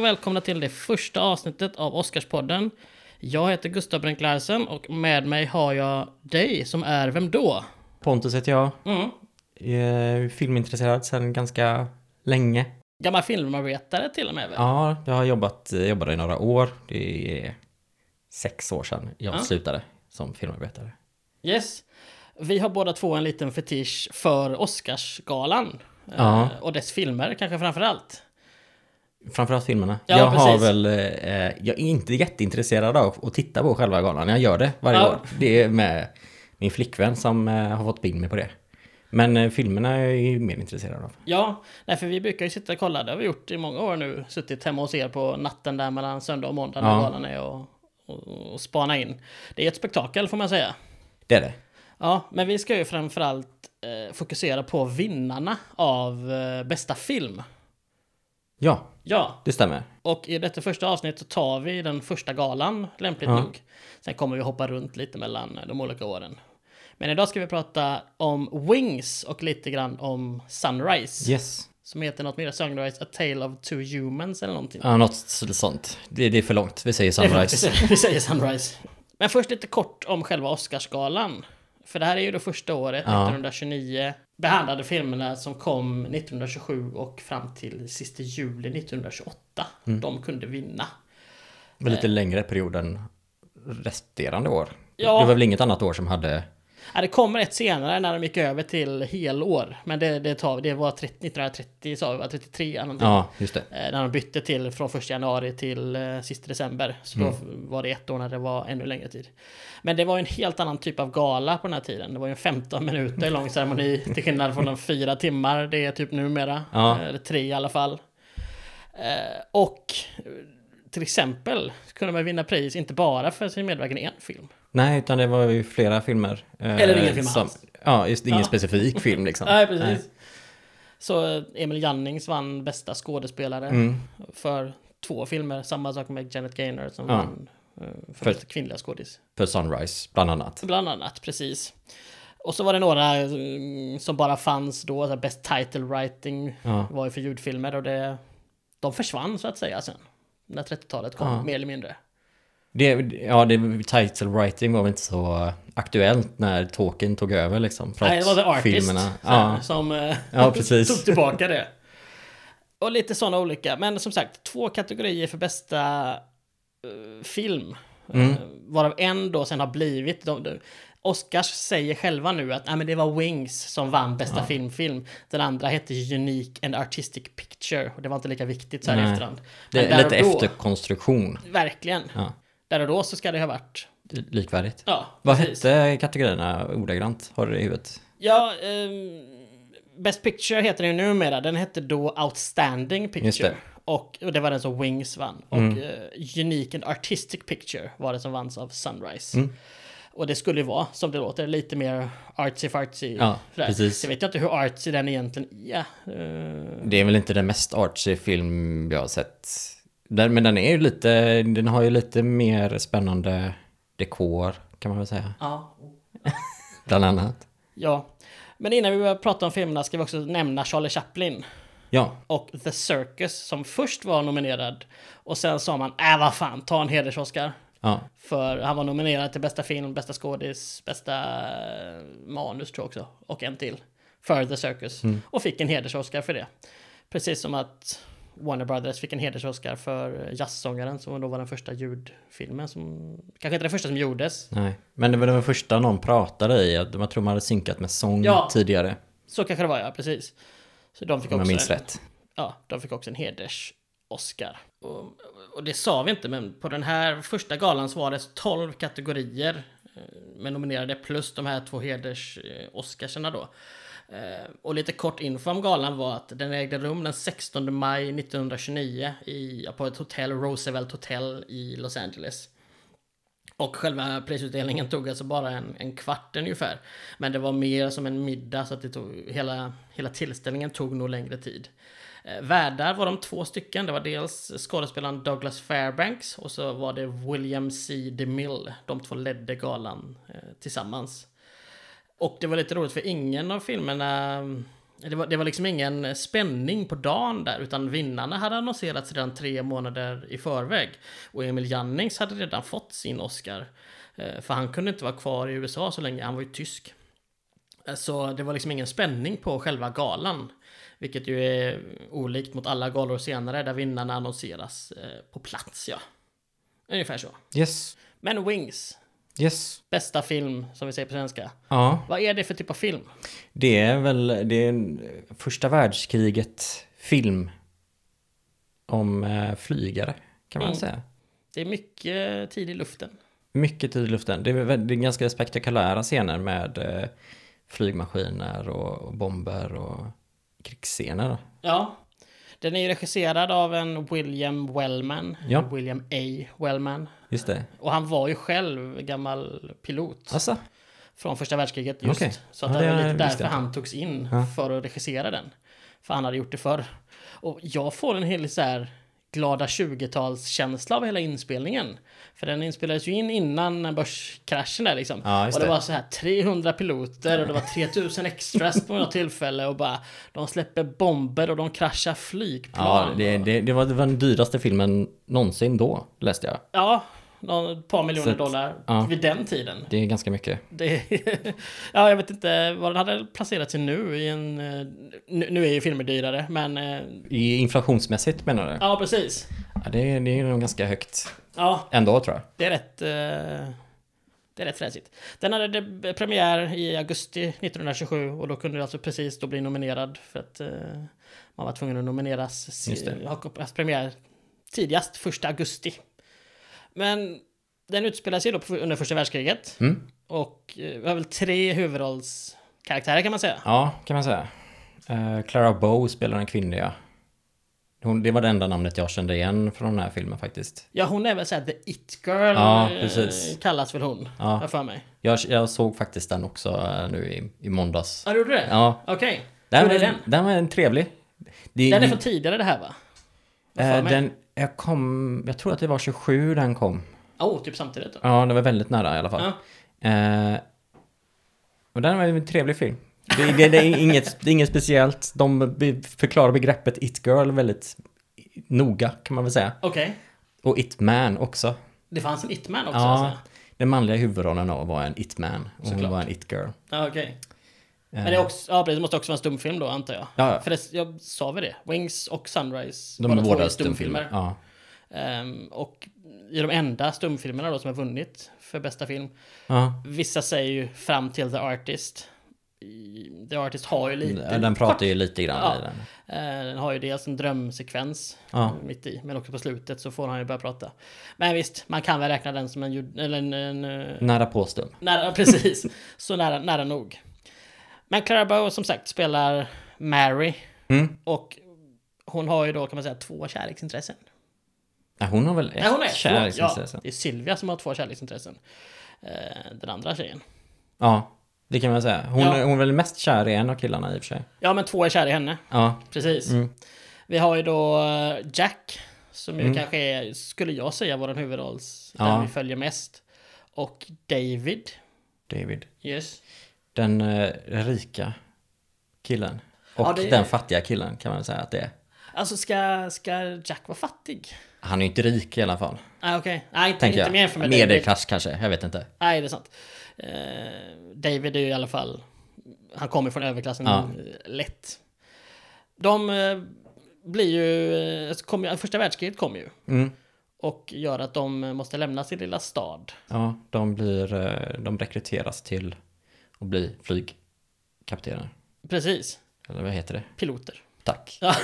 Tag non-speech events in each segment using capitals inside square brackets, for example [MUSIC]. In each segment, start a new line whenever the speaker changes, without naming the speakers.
välkomna till det första avsnittet av Oscarspodden. Jag heter Gustav Brink Larsen och med mig har jag dig som är vem då?
Pontus heter jag.
Mm.
Eh, filmintresserad sedan ganska länge.
Gammal filmarbetare till och med väl?
Ja, jag har jobbat eh, jobbade i några år. Det är sex år sedan jag
Ja.
slutade som filmarbetare.
Yes. Vi har båda två en liten fetisch för Oscarsgalan. eh,
Ja.
Och dess filmer kanske framför allt.
Framförallt filmerna.
Ja,
jag har
precis.
väl, eh, jag är inte jätteintresserad av att titta på själva galan. Jag gör det varje
Ja.
år. Det är med min flickvän som eh, har fått in mig på det. Men eh, filmerna är jag ju mer intresserad av.
Ja, nej, för vi brukar ju sitta och kolla. Det har vi gjort i många år nu. Suttit hemma hos er på natten där mellan söndag och måndag när
Ja.
galan är och, och, och spana in. Det är ett spektakel får man säga.
Det är det.
Ja, men vi ska ju framförallt eh, fokusera på vinnarna av eh, bästa film.
Ja,
Ja,
det stämmer.
och i detta första avsnitt så tar vi den första galan, lämpligt
Ja.
nog. Sen kommer vi hoppa runt lite mellan eh, de olika åren. Men idag ska vi prata om Wings och lite grann om Sunrise.
Yes.
Som heter något mer Sunrise, A Tale of Two Humans eller någonting.
Ja, något sånt. Det, det är för långt. Vi [LAUGHS] säger Sunrise.
[LAUGHS] Vi säger Sunrise. Men först lite kort om själva Oscarsgalan. För det här är ju det första året,
Ja.
1929, behandlade filmerna som kom 1927 och fram till sista juli 1928.
Mm.
De kunde vinna.
Med lite längre period än resterande år.
Ja.
Det var väl inget annat år som hade...
Ja, det kommer ett senare när de gick över till helår. Men det, det, tar, vi- det var 30, 1930, sa vi, var 33 eller någonting.
Ja, just det.
Eh, När de bytte till från 1 januari till eh, sista december. Så då var det ett år när det var ännu längre tid. Men det var ju en helt annan typ av gala på den här tiden. Det var ju en 15 minuter lång ceremoni till skillnad från de fyra timmar det är typ numera.
Ja.
Eh, Eller tre i alla fall. Eh, Och eh, till exempel kunde man vinna pris inte bara för sin medverkan i en film.
Nej, utan det var ju flera filmer. eh,
Eller ingen film alls.
Ja, just ingen
Ja. [LAUGHS]
specifik film liksom.
Nej, precis. Så eh, Emil Jannings vann bästa skådespelare
Mm.
för två filmer. Samma sak med Janet Gaynor som
Ja.
vann eh, för
För-
bästa kvinnliga skådis.
För Sunrise, bland annat.
Bland annat, precis. Och så var det några mm, som bara fanns då, så här, Best Title Writing
Ja.
var ju för ljudfilmer och det, de försvann så att säga sen. När 30-talet kom,
Ja.
mer eller mindre.
Det, ja, det, title writing var väl inte så aktuellt när Tolkien tog över liksom. Trots
Nej, det var The Artist
filmerna.
sen,
Ja,
som eh, [LAUGHS]
Ja, precis.
tog tillbaka det. Och lite sådana olika. Men som sagt, två kategorier för bästa eh, film.
Mm.
Eh, varav en då sen har blivit... De, de, Oscars säger själva nu att "Nej, men det var Wings som vann bästa filmfilm. Den andra hette Unique and Artistic Picture. Och det var inte lika viktigt så här i
Nej.
efterhand.
det
Men
är
där
lite
och då,
efterkonstruktion.
Verkligen.
Ja,
Där och då så ska det ha varit...
likvärdigt.
Ja,
Vad
precis.
hette kategorierna ordagrant? Har du det i huvudet?
Ja, ehm, Best Picture heter den ju numera. Den hette då Outstanding
Just
Picture.
det. Mm.
Och, och det var den som Wings vann. Och eh, Unique and Artistic Picture var det som vanns av Sunrise.
Mm.
Och det skulle ju vara, som det låter, lite mer artsy-fartsy.
Ja,
sådär.
precis.
Jag vet ju inte hur artsy den egentligen är. Eh,
Det är väl inte den mest artsy film jag har sett. Den, men den är ju lite, den har ju lite mer spännande dekor kan man väl säga.
ja.
Bland annat.
ja. Men innan vi börjar prata om filmerna ska vi också nämna Charlie Chaplin.
Ja,
och The Circus som först var nominerad. Och sen sa man, äh vad fan, ta en hedersoscar.
ja,
För han var nominerad till bästa film, bästa skådis, bästa eh, manus tror jag också. Och en till. För The Circus.
Mm.
Och fick en hedersoscar för det. Precis som att Warner Brothers fick en hedersoscar för Jazzsångaren som då var den första ljudfilmen som... Kanske inte den första som gjordes.
nej. Men det var den första någon pratade i. att Man tror man hade synkat med sång
Ja.
tidigare.
Så kanske det var ja, precis. Så de fick
Om jag
också
minns
den.
rätt.
Ja, de fick också en heders-Oscar. Och, och det sa vi inte, men på den här första galan så var det 12 kategorier eh, med nominerade plus de här två heders-Oscarsarna då. Eh, Och lite kort info om galan var att den ägde rum den 16 maj 1929 i, på ett hotell, Roosevelt Hotel i Los Angeles. Och själva prisutdelningen tog alltså bara en, en kvart ungefär. Men det var mer som en middag så att det tog, hela, hela tillställningen tog nog längre tid. Eh, Värdar var de två stycken. Det var dels skådespelaren Douglas Fairbanks och så var det William C. DeMille. De två ledde galan eh, tillsammans. Och det var lite roligt för ingen av filmerna Det var, det var liksom ingen spänning på dagen där, utan vinnarna hade annonserats redan tre månader i förväg. Och Emil Jannings hade redan fått sin Oscar. Eh, För han kunde inte vara kvar i USA så länge, han var ju tysk. Eh, Så det var liksom ingen spänning på själva galan. Vilket ju är olikt mot alla galor senare där vinnarna annonseras eh, på plats ja. Ungefär så.
Yes.
Men Wings,
Yes.
bästa film som vi säger på svenska.
Ja.
Vad är det för typ av film?
Det är väl det är en första världskriget film om eh, flygare kan man
Mm.
säga.
Det är mycket tid i luften.
Mycket tid i luften. Det är, väl- det är ganska spektakulära scener med eh, flygmaskiner och, och bomber och krigsscener. då.
Ja. Den är ju regisserad av en William Wellman.
Ja.
William A. Wellman.
Just det.
Och han var ju själv gammal pilot
Alltså,
från första världskriget just.
Okej.
Så att
Ja,
det
det
var lite
visste jag
därför
inte.
han togs in för att regissera den. För han hade gjort det förr. Och jag får en hel så här glada 20-talskänsla av hela inspelningen. För den inspelades ju in innan börskraschen där liksom.
Ja, just
och det,
det.
var så här 300 piloter och det var 3000 extras på något tillfälle och bara de släpper bomber och de kraschar flygplan.
ja, det, det, det var det var den dyraste filmen någonsin då, läste jag.
Ja, någon, ett par miljoner
Så att-
dollar
ja.
vid den tiden.
Det är ganska mycket.
Det, [LAUGHS] ja, jag vet inte vad den hade placerat sig nu i en... eh, Nu, nu är ju filmer dyrare, men... eh,
I inflationsmässigt menar du?
Ja, precis.
Ja, det, är- det är nog ganska högt
Ja,
ändå tror jag.
det är rätt... eh, Det är rätt fräsigt. Den hade deb- premiär i augusti 1927 och då kunde du alltså precis då bli nominerad för att eh, man var tvungen att nomineras. se-
Just det.
Ha haft premiär tidigast 1 augusti. Men den utspelar sig då på- under första världskriget.
Mm.
Och eh, vi har väl tre huvudrollskaraktärer kan man säga.
Ja, kan man säga. Eh, Clara Bow spelar den kvinnliga. Hon, det var det enda namnet jag kände igen från den här filmen faktiskt.
Ja hon är väl såhär the it girl
Ja,
eh,
precis.
kallas väl hon.
Ja.
Har jag för mig.
Jag, jag såg faktiskt den också eh, nu i, i måndags.
Ja du gjorde det?
Ja.
Okej.
Den,
Hur är
var-
den?
den var en trevlig. Det-
Den är från tidigare det här va? Vad
eh,
för mig?
den, jag, kom, jag tror att det var 27 den kom.
Åh, oh, typ samtidigt då.
Ja, det var väldigt nära i alla fall.
Ja.
Eh, och den var ju en trevlig film. Det, det, det, är inget, det är inget speciellt. De be- förklarar begreppet it girl väldigt noga kan man väl säga.
Okej.
Och it man också.
Det fanns en it-man också
Ja,
alltså?
den manliga huvudrollen då var en it-man och
Såklart.
hon var en it-girl.
Ja, okej. Men det, är också, ja, precis, det måste också vara en stumfilm då antar jag.
Eh. Ja, ja.
För det, jag sa väl det? Wings och Sunrise.
De är
två är
båda stumfilmer. Ja.
Ehm, och i de enda stumfilmerna då som har vunnit för bästa film.
Ja.
Vissa säger ju fram till The Artist. I- The Artist har ju lite...
Mm, Den pratar ju lite grann
Ja.
i den.
Eh, Den har ju dels en drömsekvens
Ja.
eh, mitt i, men också på slutet så får han ju börja prata. Men visst, man kan väl räkna den som en ljud... Eller en... en eh,
Nära på stum.
nära, [LAUGHS] precis, så nära, nära nog. Men Clara Bow som sagt spelar Mary.
Mm.
Och hon har ju då kan man säga två kärleksintressen.
Ja, hon har väl ett
Nej, hon är
kärleksintresse?
Ja, det är Sylvia som har två kärleksintressen. Eh, Den andra tjejen.
Ja, det kan man säga. Hon,
Ja.
hon är väl mest kär i en av killarna i och för sig.
Ja, men två är kära i henne.
Ja,
Precis.
Mm.
Vi har ju då eh, Jack, som ju kanske är, skulle jag säga, vår huvudrolls,
Mm. Ja.
den vi följer mest. Och David.
David.
Yes.
Den eh, rika killen. Och
Ja, det-
den fattiga killen kan man säga att det är.
Alltså, ska, ska Jack vara fattig?
Han är ju inte rik i alla fall.
Ah, okej. Nej, inte,
Tänker
inte
jag.
mer för mig. David.
Medelklass kanske, jag vet inte.
Nej, det är sant. Eh, David är ju i alla fall... Han kommer från överklassen
Ja.
eh, lätt. De eh, blir ju... eh, alltså Kom, ju- första världskriget kom ju.
Mm.
Och gör att de måste lämna sin lilla stad.
Ja, de blir, eh, de rekryteras till att bli flygkaptener.
Precis.
Eller vad heter det?
Piloter.
Tack.
Ja.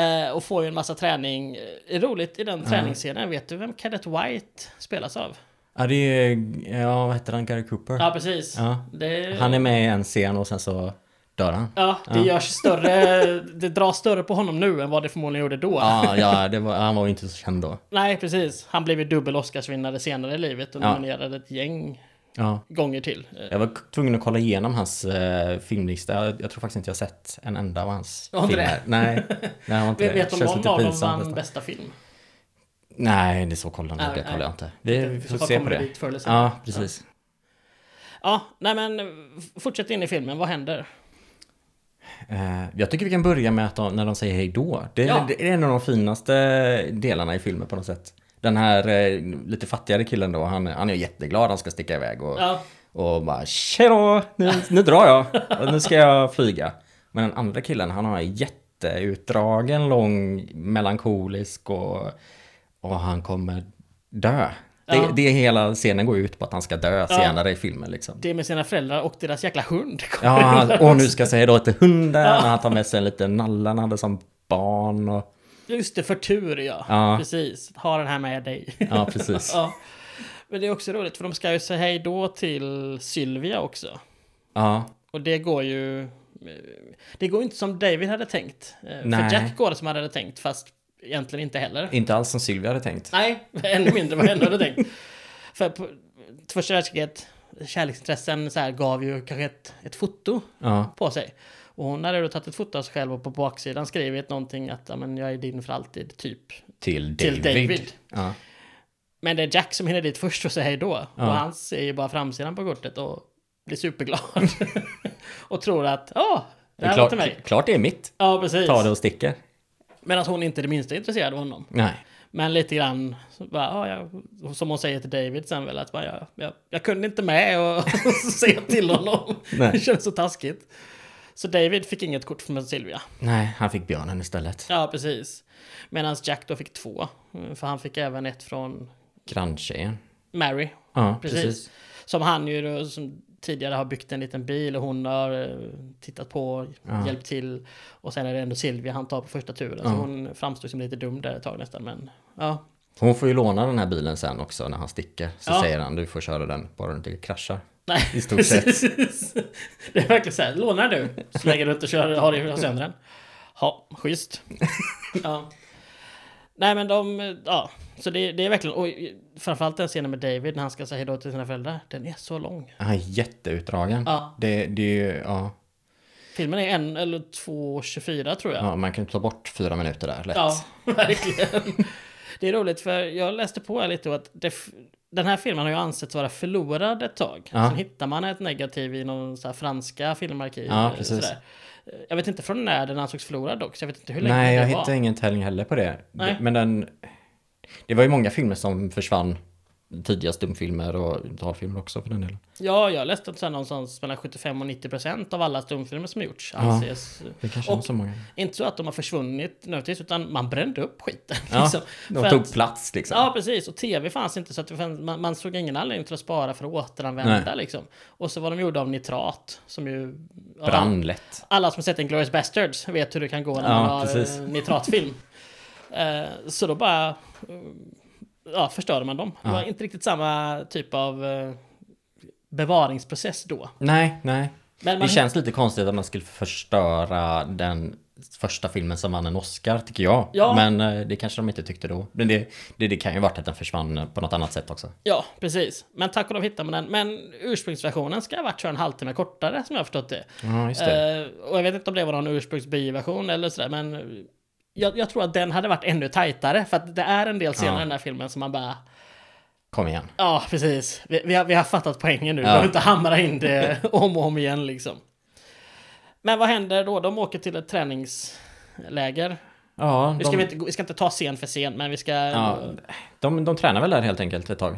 Eh, och får ju en massa träning. Eh, Det är roligt i den träningsscenen. Vet du vem Cadet White spelas av?
Ja, det är, ja, vad heter han? Gary Cooper?
Ja, precis.
Ja.
Det,
Han är med i en scen och sen så dör han.
ja, det görs större...
[LAUGHS]
Det dras större på honom nu än vad det förmodligen gjorde då.
Ja, ja det var, han var ju inte så känd då.
Nej, precis. Han blev ju dubbel Oscarsvinnare senare i livet och
Ja.
nominerad ett gäng
Ja.
gånger till. Eh,
Jag var k- tvungen att kolla igenom hans eh, filmlista. Jag, jag tror faktiskt inte jag har sett en enda av hans
Har inte
filmer.
[LAUGHS]
Nej, nej, har inte
Vet,
det.
vet om
Känns
någon
lite
av dem
pinsamt
vann
nästan.
bästa film?
Nej, det är så kollar
Nej,
jag, det
nej.
kollar jag inte. Det, vi
I
får
så fall
se på
kommer vi
det.
dit förr eller senare.
Ja, precis.
Ja, nej men f- fortsätt in i filmen. Vad händer?
Eh, jag tycker vi kan börja med att de, när de säger hej då. Det, är-
Ja.
det är en av de finaste delarna i filmen på något sätt. Den här eh, lite fattigare killen då, han, han är jätteglad, han ska sticka iväg och,
Ja.
och bara tja då, nu, nu drar jag, och nu ska jag flyga. Men den andra killen, han har en jätteutdragen, lång, melankolisk och, och han kommer dö.
Ja.
Det, det är hela scenen går ut på att han ska dö senare i filmen liksom.
Det är med sina föräldrar och deras jäkla hund.
Ja, han,
[LAUGHS]
och nu ska jag säga då till hunden. och Han tar med sig en liten nalla han hade som barn. Och,
Just det, för tur ja.
Ja.
Precis. Ha den här med dig.
ja, precis.
[LAUGHS] ja. Men det är också roligt för de ska ju säga hej då till Sylvia också.
Ja,
Och det går ju... eh, Det går inte som David hade tänkt. Eh,
Nej.
För Jack går det som han hade tänkt, fast egentligen inte heller.
inte alls som Sylvia hade tänkt.
Nej, ännu mindre vad henne hade tänkt. För på första världskriget, kärleksintressen så här, gav ju kanske ett, ett foto
Ja,
på sig. Och hon hade då tagit ett foto av sig själv och på baksidan skrivit någonting att "Ja, men jag är din för alltid, typ.
till
Till
David.
David.
Ja.
Men det är Jack som hinner dit först och säger hej då. Och han ser ju bara framsidan på kortet och blir superglad. [LAUGHS] och tror att, ja, det
Det
här
är
var till mig.
klart, klart det är mitt.
Ja, precis.
Ta det och sticker.
Men att hon inte är det minsta intresserad av honom.
Nej.
Men lite grann, så bara, ja, jag, som hon säger till David sen väl, att bara, jag, jag, jag kunde inte med och [LAUGHS] säga till honom.
Nej.
Det känns så taskigt. Så David fick inget kort från Silvia.
Nej, han fick björnen istället.
Ja, precis. Medan Jack då fick två. Mm, För han fick även ett från
Granntjejen.
Mary.
Ja,
Precis.
precis.
Som han ju då, som tidigare har byggt en liten bil och hon har eh, tittat på, hjälpt till. Och sen är det ändå Silvia han tar på första turen. Så hon framstod som lite dum där ett tag nästan. Men ja,
Hon får ju låna den här bilen sen också när han sticker. Så
Ja.
säger han du får köra den bara du inte kraschar.
Nej,
I stort sett.
precis. [LAUGHS] Det är verkligen så här, lånar du så länge du inte kör, har, har sönder den. Ja,
[LAUGHS]
schysst. Ja. Nej men de, ja. Så det, det är verkligen, och framförallt den scenen med David när han ska säga hejdå till sina föräldrar. Den är så lång.
Han är jätteutdragen.
Ja.
Det, det är ju, ja.
Filmen är en eller två 24 tror jag.
ja. Man kan ju ta bort fyra minuter där lätt.
Ja, [LAUGHS] verkligen. Det är roligt för jag läste på här lite och att det, den här filmen har ju ansetts vara förlorad ett tag.
Ja.
Sen hittar man ett negativ i någon så här franska filmarkiv.
Ja,
eh,
precis.
sådär. Eh, Jag vet inte från när den ansågs förlorad dock, så jag vet inte hur länge
Nej,
det
jag
var.
hittade ingen tävling heller på det.
Nej.
Men den... Det var ju många filmer som försvann. Tidiga stumfilmer och talfilmer också för den delen.
Ja, jag läste att så här någonstans mellan 75 och 90 procent av alla stumfilmer som gjorts anses...
Det kanske var
och
så många.
inte så att de har försvunnit nödvändigtvis, utan man brände upp skiten.
Ja,
liksom. För
de
att-
tog plats liksom.
Ja, precis. Och tv fanns inte, så att det fanns, man, man såg ingen anledning till att spara för att återanvända.
Nej.
Liksom. Och så var de gjorda av nitrat, som ju... ja,
Brann lätt.
alla som har sett en Glorious Bastards vet hur det kan gå när
Ja,
man har
precis. [LAUGHS]
eh, nitratfilm. Eh, så då bara... eh, Ja, förstörde man dem. Det var inte riktigt samma typ av eh, bevaringsprocess då.
Nej, nej.
Men
Det
man,
känns lite konstigt att man skulle förstöra den första filmen som vann en Oscar, tycker jag.
Ja.
Men eh, det kanske de inte tyckte då. Men det, det, det kan ju varit att den försvann eh, på något annat sätt också.
ja, precis. Men tack och lov hittar man den. Men ursprungsversionen ska ha varit så en halvtimme kortare, som jag har förstått det.
Ja, just det.
Eh, och jag vet inte om det var någon ursprungsbioversion eller sådär, men jag, jag tror att den hade varit ännu tajtare, för att det är en del scener i den här filmen som man bara,
Kom igen.
ja precis, vi, vi, har, vi har fattat poängen nu, vi
Ja.
behöver inte hamra in det [LAUGHS] om och om igen liksom. Men vad händer då? De åker till ett träningsläger.
Ja,
Vi ska, väl
de,
inte, gå- vi ska inte ta scen för scen, men vi ska...
ja,
Ja.
de, de tränar väl där helt enkelt ett tag.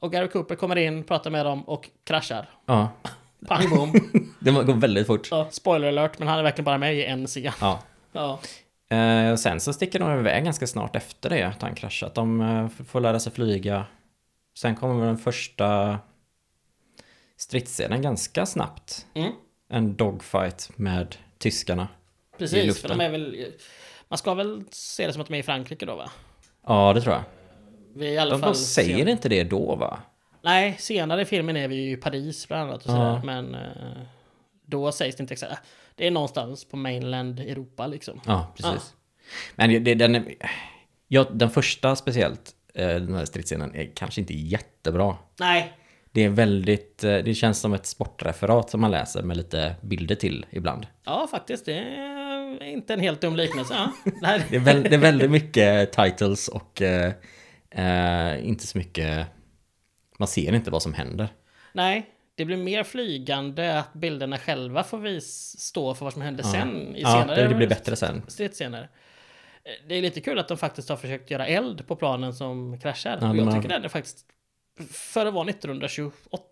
och Gary Cooper kommer in, pratar med dem och kraschar.
Ja. [LAUGHS]
Pang bom.
Det går väldigt fort.
ja, spoiler alert, men han är verkligen bara med i en scen.
Ja.
Ja.
Eh, och sen så sticker de iväg ganska snart efter det att han kraschat. De eh, f- får lära sig flyga. Sen kommer den första stridsscenen ganska snabbt.
Mm.
En dogfight med tyskarna. i
Precis, för
luften.
de är väl... Man ska väl se det som att de är i Frankrike då va?
Ja, det tror jag.
Vi är i alla
De,
fall...
de säger
sen-
inte det då va?
Nej, senare i filmen är vi ju i Paris bland annat och sådär.
Ja.
Men eh, då sägs det inte exakt. äh, Det är någonstans på mainland Europa liksom.
Ja, precis. Men det, det, den, är- ja, den första speciellt, eh, den här stridsscenen, är kanske inte jättebra.
Nej,
Det är väldigt, eh, det känns som ett sportreferat som man läser med lite bilder till ibland.
ja faktiskt. Det är inte en helt dum liknelse.
[LAUGHS]
Ja. Det här,
Det är, väl, det är väldigt mycket titles och eh, eh, inte så mycket... Man ser inte vad som händer.
nej, Det blir mer flygande att bilderna själva får vis, stå för vad som hände
Ja.
sen. I
ja,
senare
det, det blir bättre sen.
stridscener. Eh, Det är lite kul att de faktiskt har försökt göra eld på planen som kraschar.
Ja,
och
de
jag
har-
tycker den är faktiskt, för att vara 1928-27, jag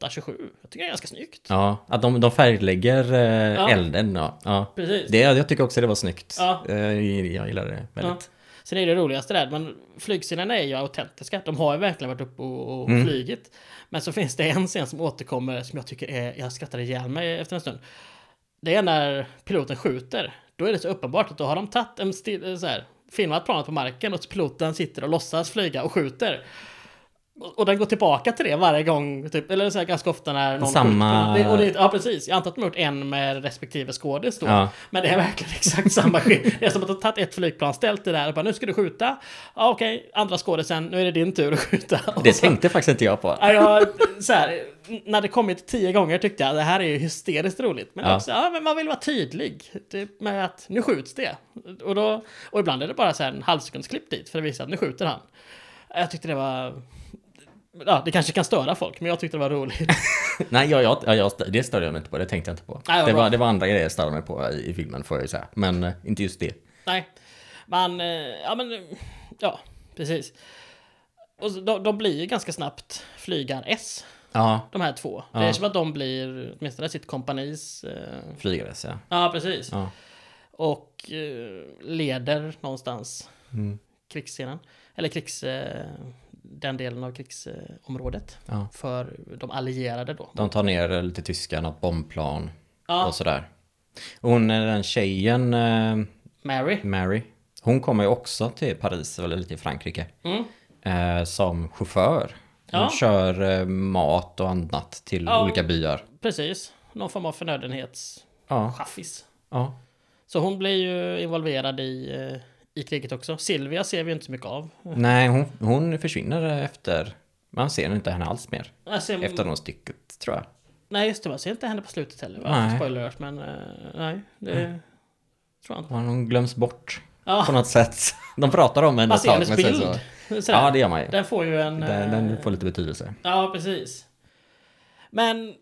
tycker det är ganska snyggt.
Ja, att de, de färglägger eh,
Ja.
elden. Ja. Ja.
Precis.
Det, jag tycker också det var snyggt.
Ja.
Eh, jag gillade det
Ja.
väldigt.
Sen är det roligaste där, men flygsinnena är ju autentiska. De har ju verkligen varit uppe och,
Mm.
och flygit. Men så finns det en scen som återkommer som jag tycker är, jag skrattade ihjäl mig efter en stund. Det är när piloten skjuter. Då är det så uppenbart att då har de tagit en still, så här, filmat planet på marken och piloten sitter och låtsas flyga och skjuter. Och, och den går tillbaka till det varje gång, typ, eller så här, ganska ofta när någon
Samma-
skjuter. Det, och det, [LAUGHS] ja, precis. Jag antar att de har gjort en med respektive skådis då.
Ja.
Men det är verkligen [LAUGHS] exakt samma skit. Det är som att de har tagit ett flygplan, ställt det där och bara nu ska du skjuta. Ja, okej, andra skådisen, nu är det din tur att skjuta. Och
Det
så-
tänkte faktiskt inte jag på.
[LAUGHS] Ja, jag, så här, när det kommit tio gånger tyckte jag det här är ju hysteriskt roligt. Men
Ja.
också, ja, men man vill vara tydlig typ, med att nu skjuts det. Och, då, och ibland är det bara så här en halvsekundsklipp dit för att visa att nu skjuter han. Jag tyckte det var... Ja, det kanske kan störa folk, men jag tyckte det var roligt.
Nej, jag, jag, jag, jag, det störde jag mig inte på. Det tänkte jag inte på.
Nej, vad
det,
bra.
var, det var andra grejer jag störde mig på i, i filmen får jag ju säga. Men eh, inte just det.
Nej, man, eh, ja men, eh, ja, precis. Och så, de, de blir ju ganska snabbt flygar-S,
Ja,
de här två. Det är
Ja.
som att de blir, åtminstone sitt kompanis, eh,
flygades ja.
ja precis.
Ja.
Och eh, leder någonstans
Mm.
krigsscenen. Eller krigs, eh, den delen av krigsområdet.
Ja.
För de allierade då.
De tar ner lite tyskar, något bombplan
Ja.
och sådär. Och hon, eh, den tjejen, eh,
Mary.
Mary, hon kommer ju också till Paris, eller lite i Frankrike,
Mm.
eh, som chaufför. Hon
Ja.
kör eh, mat och annat till
Ja.
olika byar.
Precis. Någon form av förnödenhetschaffis.
Ja, ja.
Så hon blir ju involverad i, eh, i kriget också. Silvia ser vi ju inte så mycket av.
Nej, hon, hon försvinner efter... Man ser inte henne alls mer.
Jag ser,
Efter något stycket, tror jag.
Alltså, Nej, just det. Man ser inte henne på slutet heller. Va?
Nej.
Spoiler alert, men eh, nej. Det
Mm.
tror jag inte.
Ja, Hon glöms bort på
Ja,
något sätt. De pratar om henne
man
ett
ser
tag,
hennes
men sen så...
bild. Sådär.
Ja, det gör man ju.
Den får ju en...
Den, den
eh,
får lite betydelse.
Ja, precis. Men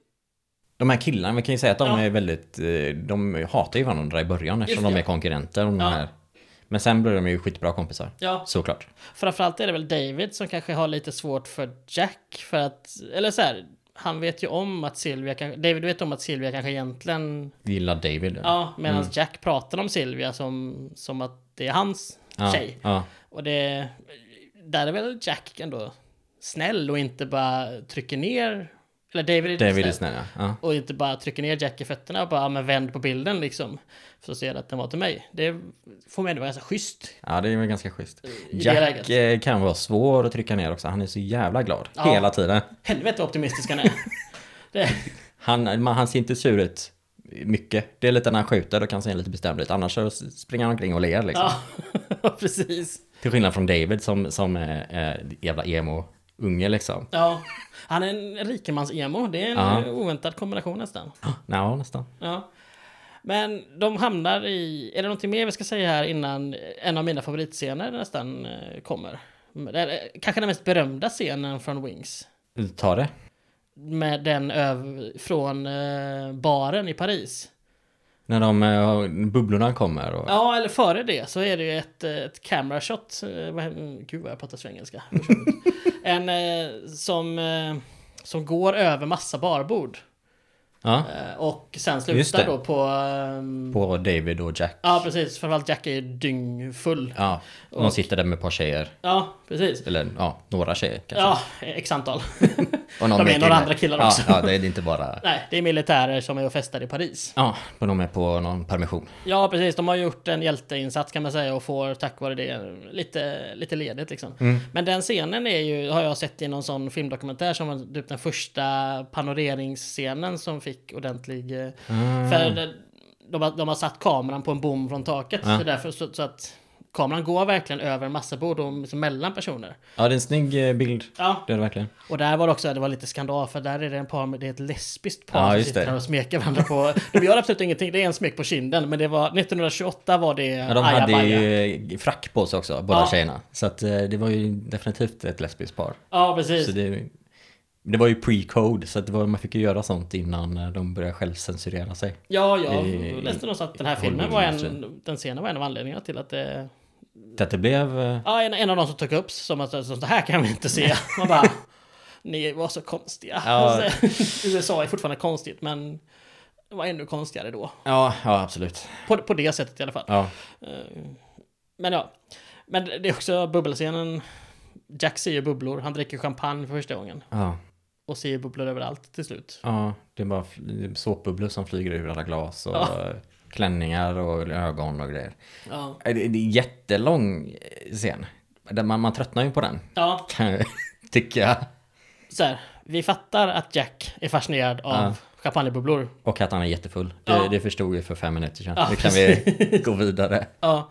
De här killarna, vi kan ju säga att de
Ja.
är väldigt... eh, De hatar ju varandra i början eftersom
Just
de
det.
är konkurrenter. Om
Ja.
de här. Men sen blir de ju skitbra kompisar.
ja,
Såklart.
framförallt är det väl David som kanske har lite svårt för Jack för att... Eller så här, han vet ju om att Silvia kanske... David vet om att Silvia kanske egentligen...
Gillar David.
Ja, medan
Mm.
Jack pratar om Silvia som, som att det är hans tjej.
Ja.
Och det... Där är väl Jack ändå snäll och inte bara trycker ner... Eller David är,
David
snäll.
är snäll, ja. ja.
Och inte bara trycker ner Jack i fötterna och bara "Ja, men vänd på bilden liksom. För så ser jag att den var till mig. Det får mig ändå vara ganska schysst
Ja, det är väl ganska schysst.
det
Jack
läget.
eh, kan vara svår att trycka ner också. Han är så jävla glad.
Ja.
Hela tiden.
Helvete vad optimistisk han är. Det,
Han, man, han ser inte sur ut mycket. Det är lite när han skjuter, då kan han se lite bestämd ut. Annars så springer han omkring och ler liksom.
ja, [LAUGHS] precis.
Till skillnad från David som, som är, är jävla emo-unge liksom. [GASPS]
Ja. Han är en rikemans-emo. Det är en
Ja.
eh, oväntad kombination nästan.
Ja, nästan.
Ja. Men de hamnar i... Är det någonting mer vi ska säga här innan en av mina favoritscener nästan eh, kommer? Det är, eh, kanske den mest berömda scenen från Wings.
Ta det.
Med den öv, från eh, baren i Paris.
När de eh, bubblorna kommer och...
Ja, eller före det så är det ju ett, eh, ett camera shot. eh, vad he- Gud vad jag pratar svengelska. [LAUGHS] en eh, som, eh, som går över massa barbord.
Ja,
Eh, och sen
Just
slutar
det.
då på... ehm,
På David och Jack.
Ja, precis. Framförallt Jack är ju dyngfull.
Ja, de
Och-
sitter där med ett par tjejer.
Ja, precis.
Eller ja, några tjejer kanske.
Ja, x antal.
[LAUGHS] Och någon
de är
mer
några
kille.
andra killar
ja,
också.
Ja, det är inte bara...
Nej, det är militärer som är och festar i Paris.
Ja, men de är på någon permission.
Ja, precis. De har gjort en hjälteinsats kan man säga och får tack vare det lite, lite ledigt liksom.
Mm.
Men den scenen är ju, har jag sett i någon sån filmdokumentär som var typ den första panoreringsscenen som fick ordentlig... eh,
Ah.
För de, de, har, de har satt kameran på en bom från taket.
Ah.
Så, därför, så, så att kameran går verkligen över en massa bord och liksom mellan personer.
Ja, det är en snygg eh, bild.
Ja,
Det är det verkligen.
och där var det också, det var lite skandal för där är det en par, med- det är ett lesbiskt par
Ja,
som
just
sitter
det.
där och smeker varandra på, de gör absolut ingenting, det är en smek på kinden, men det var 1928 var det
Ja, de hade
ajabaja.
ju frack på sig också, båda
Ja.
tjejerna. Så att eh, det var ju definitivt ett lesbiskt par.
Ja,
Så
precis.
det, Det var ju pre-code, så att det var, man fick ju göra sånt innan eh, de började självcensurera sig.
Ja, jag
I-
läste någonstans att den här
i
filmen var en,
Hollywood-industrin.
den scenen var en av anledningarna till att det...
Så att det blev... eh,
Ja, en, en av de som tog upp som att som, det här kan vi inte se. Man bara... Ni var så konstiga. [LAUGHS] Alltså,
Ja.
USA är fortfarande konstigt, men det var ännu konstigare då.
Ja, ja absolut.
På, på det sättet i alla fall.
Ja.
Eh, Men ja. Men det är också bubbelscenen. Jack ser ju bubblor. Han dricker champagne för första gången.
Ja,
Och ser bubblor överallt till slut.
ja, det är bara fl- såpbubblor som flyger ur alla glas och
Ja.
eh, klänningar och ögon och grejer.
Ja.
Eh, Det det är en jättelång eh, scen. Där Man, man tröttnar ju på den,
Ja,
kan jag [LAUGHS] tycka.
så här. Vi fattar att Jack är fascinerad av
Ja.
champagnebubblor.
Och att han är jättefull. Det,
Ja.
det förstod vi för fem minuter sedan.
Ja,
nu kan vi gå vidare.
Ja.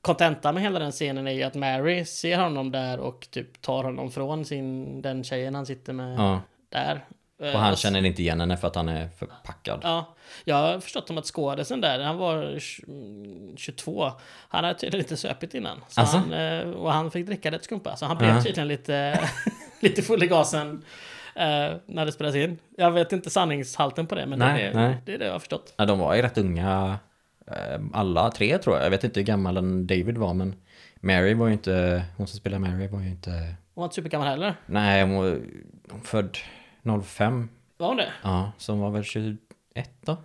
Kontenta med hela den scenen är ju att Mary ser honom där och typ tar honom från sin, den tjejen han sitter med
Ja.
där. Eh,
Och han
s-
känner inte igen henne för att han är förpackad.
Ja, jag har förstått om att skådisen där, han var tj- 22. Han hade tydligen inte söpit innan. Så
Alltså?
han, eh, och han fick dricka rätt skumpa. Så han blev
Ja.
tydligen lite, [LAUGHS] lite full i gasen eh, när det spelades in. Jag vet inte sanningshalten på det, men det,
Nej,
är,
nej.
det är det jag har förstått.
Ja, de var ju rätt unga, eh, alla tre tror jag. Jag vet inte hur gammal en David var, men Mary var ju inte, hon som spelar Mary var ju inte,
Hon var inte supergammal heller.
nej hon var hon född 05.
Var hon det?
Ja, så hon var väl 21 då?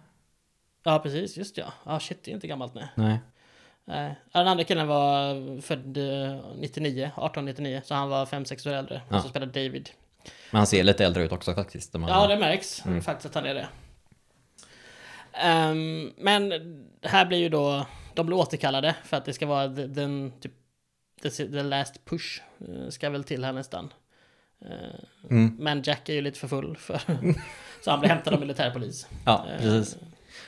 Ja, precis. Just ja. Ja, shit, det är inte gammalt nej.
Nej.
nej. Ja, Den andra killen var född eh, 99, 1899, så han var 5-6 år äldre.
Ja.
Och så spelade David.
Men han ser lite äldre ut också faktiskt. om man-
Ja, det märks faktiskt att han är det. Ehm, men här blir ju då, de blir återkallade för att det ska vara the- den typ the, the last push eh, ska väl till här nästan. Eh,
Mm.
Men Jack är ju lite för full för, så han blir hämtad av militärpolis.
Ja, precis.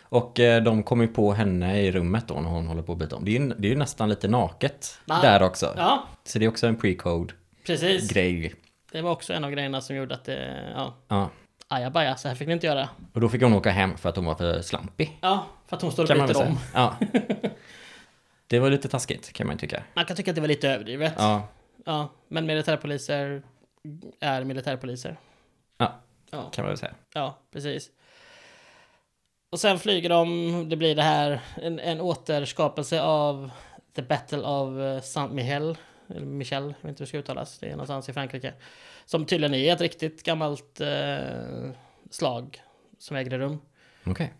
Och eh, de kommer ju på henne i rummet då när hon håller på att byta om. Det är ju, det är ju nästan lite naket
Ja.
där också.
Ja,
Så det är också en pre-code-grej.
precis. Det var också en av grejerna som gjorde att det, ja,
Ja.
ajabaja, så här fick ni inte göra.
Och då fick hon åka hem för att hon var för slampig.
Ja, för att hon står och byter om.
Ja.
[LAUGHS]
Det var lite taskigt kan man ju tycka.
Man kan tycka att det var lite överdrivet. Ja.
Ja.
ja, men militärpoliser är militärpoliser.
ja,
Ja.
kan man väl säga.
Ja, precis. Och sen flyger de, det blir det här, en, en återskapelse av The Battle of eh, Saint Michel. Eller Michel, jag vet inte hur det ska uttalas. Det är någonstans i Frankrike. Som tydligen är ett riktigt gammalt eh, slag som ägde rum. Eh,
Okej.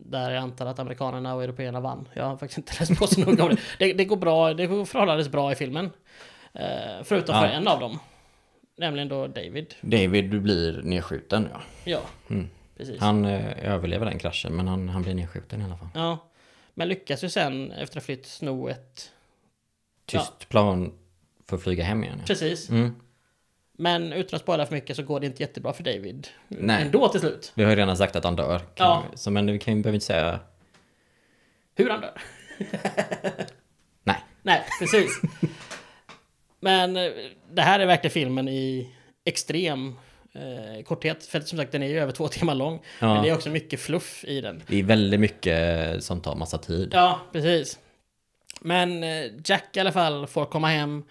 Där jag antar att amerikanerna och européerna vann. Jag har faktiskt inte läst på så noga om det. det. Det går bra, det går förhållandevis bra i filmen. Eh, förutom för
Ja.
en av dem. Nämligen då David.
David du blir nedskjuten ja.
Ja, precis.
Han eh, överlever den kraschen men han, han blir nedskjuten i alla fall.
Ja. Men lyckas ju sen efter att ha flytt sno ett...
Tyst plan för att flyga hem igen. Ja.
Precis.
Mm.
Men utan att spoila för mycket så går det inte jättebra för David.
Nej.
Ändå till slut.
Vi har ju redan sagt att han dör. Kan
Ja.
vi- Så, men vi kan ju behöver inte säga...
Hur han dör.
Nej.
Nej,
[LAUGHS]
precis. Men eh, det här är verkligen filmen i extrem eh, korthet. För som sagt, den är ju över två timmar lång.
Ja.
Men det är också mycket fluff i den.
Det är väldigt mycket som tar massa tid.
Ja, precis. Men eh, Jack i alla fall får komma hem.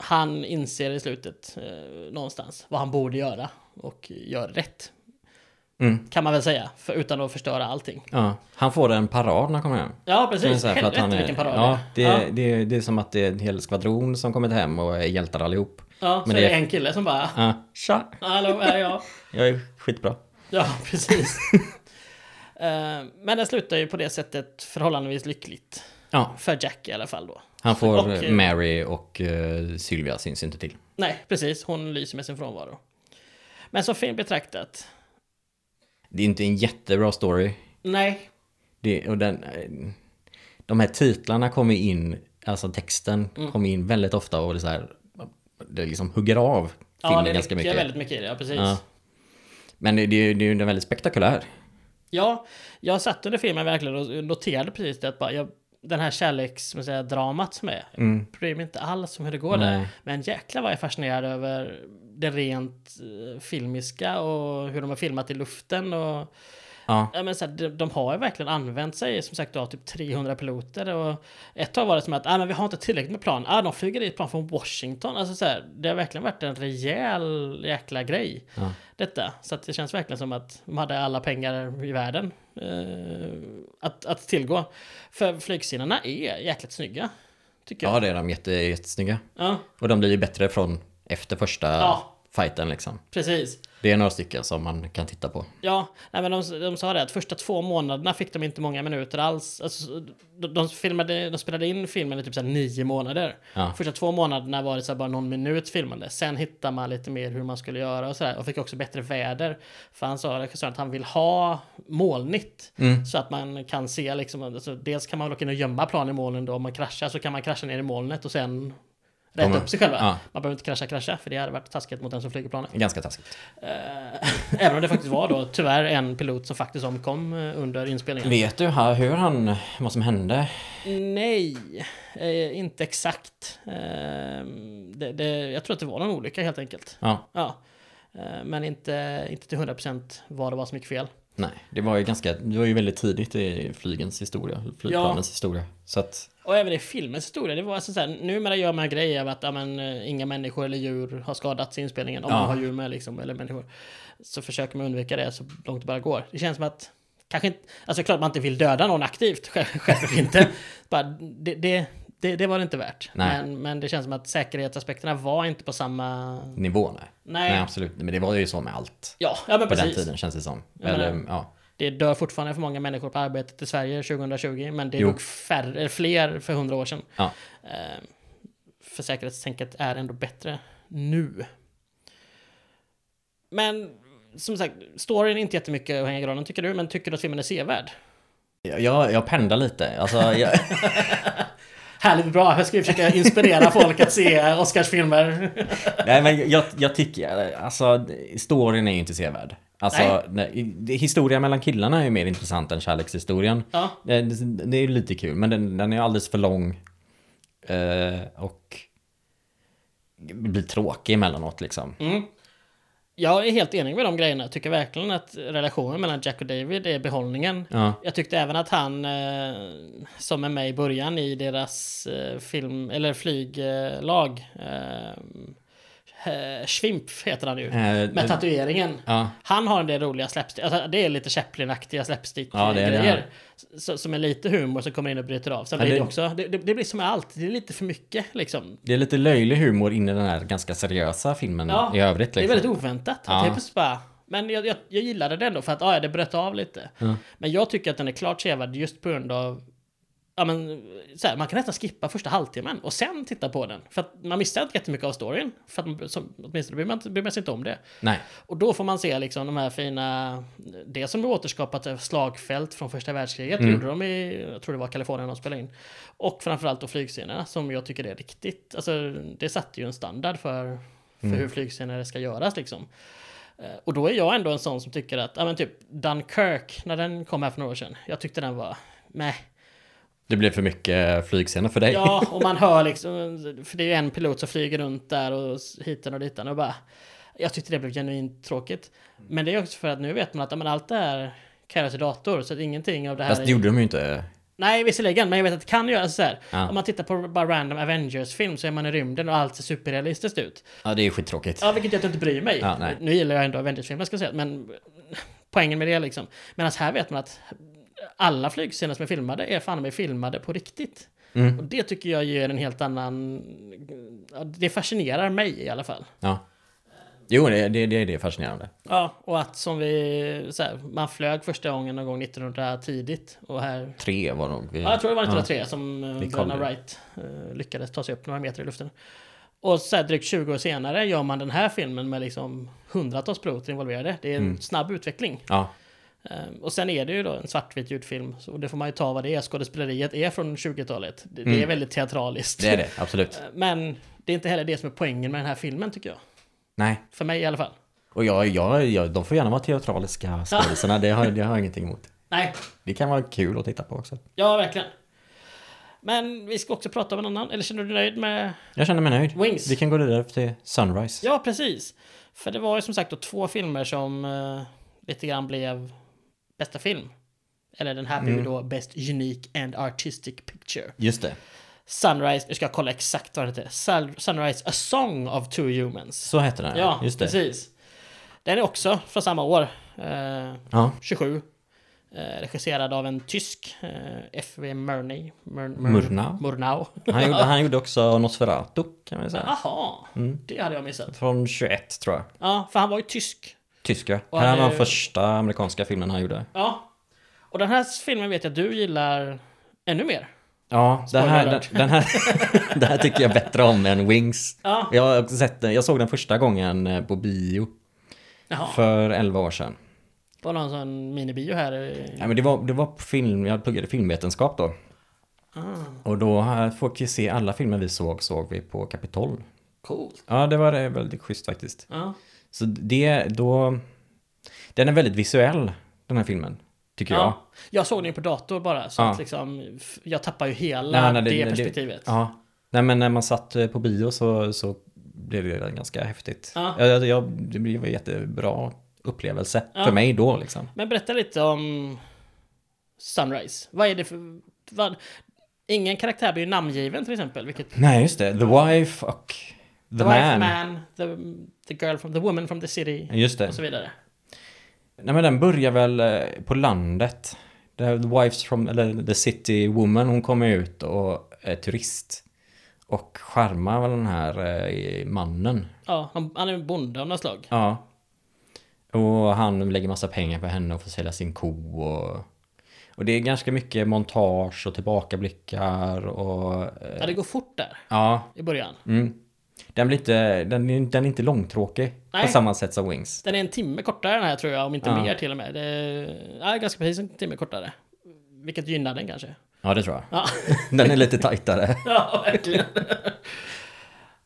Han inser i slutet eh, någonstans vad han borde göra och gör rätt.
Mm.
Kan man väl säga, för, utan att förstöra allting.
Ja. Han får en parad när han kommer hem.
Ja,
Det är
precis.
så här för att
Helvete
han är,
vilken parad
ja, det,
ja,
är- Det, är, det är som att det är en hel skvadron som kommit hem och är hjältar allihop.
ja, så
men
det... är det
det-
en kille som bara
Ja. Tja!
Hallå, här är
[LAUGHS]
jag.
Jag är skitbra.
Ja, precis. Eh, Men den slutar ju på det sättet förhållandevis lyckligt.
Ja,
För Jack i alla fall då.
han får
Och, eh,
Mary och eh, Sylvia syns inte till.
Nej, precis. Hon lyser med sin frånvaro. Men som film betraktat,
Det är inte en jättebra story.
nej,
Det, och den, eh, de här titlarna kommer in, alltså texten
Mm.
kommer in väldigt ofta och det, är så här, det liksom hugger av filmen
det
ganska
ligger
mycket.
väldigt mycket i det, ja precis. Ja.
Ja. Men det, det, är ju- det är ju den är väldigt spektakulär.
jag satt under filmen verkligen och noterade precis det att bara, jag, den här kärleksdramat som är, jag bryr mig inte alls om hur det går där.
Mm. Nej.
Men jäklar vad jag är fascinerad över det rent eh, filmiska och hur de har filmat i luften och
Ja.
Ja, men så här, de, de har ju verkligen använt sig som sagt av typ 300 piloter och ett tag var det som att ah, men vi har inte tillräckligt med plan. Ah, de flyger dit plan från Washington. Alltså, så här, det har verkligen varit en rejäl jäkla grej.
Ja.
Detta. Så att det känns verkligen som att de hade alla pengar i världen eh, att, att tillgå. För flygscenerna är jäkligt snygga. Tycker jag.
ja, det är de jätte, jättesnygga.
Ja,
Och de blir ju bättre från efter första
Ja.
fighten liksom.
precis.
Det är några stycken som man kan titta på.
Ja, nej, men de, de sa det att första två månaderna fick de inte många minuter alls. Alltså, de, de, filmade, de spelade in filmen i typ så här nio månader.
Ja.
Första två månaderna var det så här bara någon minut filmande. Sen hittade man lite mer hur man skulle göra och sådär. Och fick också bättre väder. För han sa regissören att han vill ha molnigt.
Mm.
Så att man kan se liksom, alltså, dels kan man åka in och gömma plan i molnen då. Om man kraschar så kan man krascha ner i molnet och sen rätta
Kommer-
upp sig själva.
Ja.
Man behöver inte krascha, krascha. För det hade varit taskigt mot den som flyger planet.
Ganska taskigt.
Eh, [LAUGHS] Även om det faktiskt var då tyvärr en pilot som faktiskt omkom eh, under inspelningen.
Vet du här hur han, vad som hände?
Nej, eh, inte exakt. Eh, det, det, jag tror att det var någon olycka helt enkelt.
Ja,
Ja. Eh, men inte, inte till 100% vad det var som gick fel.
nej, det var ju ganska, det var ju väldigt tidigt i flygens historia, flygplanens historia. Så att,
Och även i filmens historia, det var alltså såhär, numera gör man grejer av att ja, men, eh, inga människor eller djur har skadats i inspelningen, om
Ja.
man har djur med liksom, eller människor. Så försöker man undvika det så långt det bara går. Det känns som att, kanske inte, alltså klart man inte vill döda någon aktivt, själv- [LAUGHS] självklart inte. Bara, det, det, det, det var det inte värt.
Nej.
Men, men det känns som att säkerhetsaspekterna var inte på samma...
nivå nej.
Nej.
Nej, absolut. Men det var ju så med allt.
Ja, ja men
På den
precis.
tiden känns det som.
men-
Eller, ja.
Det dör fortfarande för många människor på arbetet i Sverige 2020, men det
Jo.
dog färre, fler för hundra år sedan.
ja.
Eh, för säkerhetstänket är ändå bättre nu. Men som sagt, storyn är inte jättemycket att hänga i granen tycker du, men tycker du att filmen är sevärd?
Jag, jag pendlar lite. Alltså,
[LAUGHS]
jag,
Härligt bra, jag ska ju försöka [LAUGHS] inspirera folk att se Oscarsfilmer.
nej, men jag, jag tycker, alltså storyn är ju inte sevärd. Alltså,
Nej.
nej. historien mellan killarna är ju mer intressant än kärlekshistorien.
Ja.
Eh, Det, det är ju lite kul, men den, den är alldeles för lång. Eh, och blir tråkig emellanåt liksom.
Mm. Jag är helt enig med de grejerna. Jag tycker verkligen att relationen mellan Jack och David är behållningen.
Ja.
Jag tyckte även att han, eh, som är med i början i deras eh, film, eller flyglag, eh, eh, Schwimp heter han ju.
Eh,
Med tatueringen.
Ja.
Han har en del roliga slapstick, alltså det är lite Chaplin-aktiga
Ja, det är det
slapstick-grejer. S- som är lite humor som kommer in och bryter av. Sen
Ja,
blir det
det-
också, det, det, det blir som med allt, det är lite för mycket liksom.
Det är lite löjlig humor in i den här ganska seriösa filmen
Ja,
i övrigt.
Det är
Liksom.
väldigt oväntat.
Ja.
Att helt plötsligt bara, men jag, jag, jag gillade det ändå för att ah, ja, det bröt av lite. Men jag tycker att den är klart sevärd just på grund av Ja, men, så här, man kan nästan skippa första halvtimmen och sen titta på den. För att man missar inte jättemycket av storyn. För att man, som, åtminstone bryr man, inte- bryr man sig inte om det.
Nej.
Och då får man se liksom de här fina, det som är återskapat av slagfält från första världskriget, gjorde de i, jag tror det var Kalifornien de spelade in. Och framförallt då flygscenerna som jag tycker är riktigt, alltså det satte ju en standard för, för hur flygscener ska göras liksom. Eh, Och då är jag ändå en sån som tycker att, ja men typ Dunkirk, när den kom här för några år sedan, jag tyckte den var, meh.
Det blir för mycket flygscener för dig. [LAUGHS]
Ja, och man hör liksom, för det är ju en pilot som flyger runt där och hiten och ditan och bara Jag tyckte det blev genuint tråkigt.
Mm.
Men det är också för att nu vet man att ja, men allt det här kan göras i dator, så att ingenting av det här
Fast
är...
det gjorde de ju inte.
Nej, visserligen, men jag vet att det kan göras så här.
Ja.
Om man tittar på bara random Avengers-film så är man i rymden och allt ser superrealistiskt ut.
Ja, det är ju skittråkigt.
Ja, vilket jag inte bryr mig.
Ja, nej.
nu gillar jag ändå Avengers-filmer ska jag säga, men poängen med det liksom. Medan här vet man att alla flygscener som är filmade är fan med filmade på riktigt.
Mm.
Och det tycker jag ger en helt annan... ja, Det fascinerar mig i alla fall.
Ja. Jo, det, det, det, det är fascinerande.
Ja, och att som vi... Så här, man flög första gången någon gång 1900 tidigt och här...
Tre var nog. eh, Vi...
Ja, jag tror det var 1903 som eh,
kom
Verna
det.
Wright eh, lyckades ta sig upp några meter i luften. Och så här drygt 20 år senare gör man den här filmen med liksom hundratals piloter involverade. Det är en
Mm.
snabb utveckling.
Ja.
Ehm, Och sen är det ju då en svartvit ljudfilm. Så det får man ju ta vad det är. Skådespeleriet är från 20-talet. Det, det är väldigt teatraliskt.
Mm.
Eh,
Det är det, absolut.
Men det är inte heller det som är poängen med den här filmen tycker jag.
Nej.
För mig i alla fall.
Och jag, jag, jag, de får gärna vara teatraliska skådisarna, det, har- det har jag ingenting emot.
Nej,
Det kan vara kul att titta på också.
ja verkligen. Men vi ska också prata om en annan. Eller känner du dig nöjd med
Jag känner mig nöjd.
Wings?
Vi kan gå vidare till Sunrise.
Ja, precis. För det var ju som sagt då två filmer som eh, lite grann blev bästa film. Eller den här blev
Mm.
ju då Best Unique and Artistic Picture.
Just det.
Sunrise, nu ska jag kolla exakt vad den heter. Sun- Sunrise A Song of Two Humans.
Så heter den.
Ja,
Just det.
precis. Den är också från samma år. Eh,
Ja.
27. Eh, regisserad av en tysk, eh, F.V. Murnay. Mur- Mur-
Murnau. [LAUGHS]
Murnau.
Han, gjorde, han gjorde också Nosferatu kan man säga.
Jaha,
Mm.
det hade jag missat.
Från 21 tror jag.
Ja, för han var ju tysk.
Tyska. Det
Och
här
han
var
är-
första amerikanska filmen han gjorde.
Ja. Och den här filmen vet jag du gillar ännu mer.
Ja, det här,
Spoiler
den,
alert.
den här, det här [LAUGHS] tycker jag bättre om än Wings.
Ja.
Jag, har sett den, jag såg den första gången eh, på bio
Jaha,
för 11 år sedan.
var det en sån minibio här? i-
Ja, men det, var, det var på film, jag pluggade filmvetenskap då.
Ah,
Och då eh, fick vi se alla filmer vi såg, såg vi på Kapitol.
Coolt.
Ja, det var eh, väldigt schysst faktiskt.
Ja.
Så det, då... Den är väldigt visuell, den här filmen. Tycker jag.
Ja. Jag såg den ju på dator bara, så
Ja.
att liksom, f- jag tappar ju hela det, perspektivet.
ja. Nej men när man satt eh, på bio så, så blev det ganska häftigt.
Ja.
Jag, jag, jag, det blev en jättebra upplevelse för mig då liksom.
Men berätta lite om Sunrise. Vad är det för... Vad, ingen karaktär blir ju namngiven till exempel, vilket...
Nej just det, The Wife och The,
the
man.
wife, man, the, the girl from... The woman from the city,
Just det.
och så vidare.
Nej men den börjar väl eh, på landet. Det här, The Wives from, eller The City Woman, hon kommer ut och är turist. Och charmar väl den här eh, mannen.
Ja, han, han är en bonde av något slag.
Ja. Och han lägger massa pengar på henne och får sälja sin ko och... Och det är ganska mycket montage och tillbakablickar och... eh,
Ja, det går fort där
Ja.
i början.
Mm. Den blir inte... Den, är- den är inte långtråkig
Nej.
på samma sätt som Wings.
Den är en timme kortare den här tror jag, om inte
Ja.
mer till och med. Det är, ja, ganska precis en timme kortare. Vilket gynnar den kanske.
Ja, det tror jag.
Ja,
[LAUGHS] Den är lite tajtare.
ja verkligen.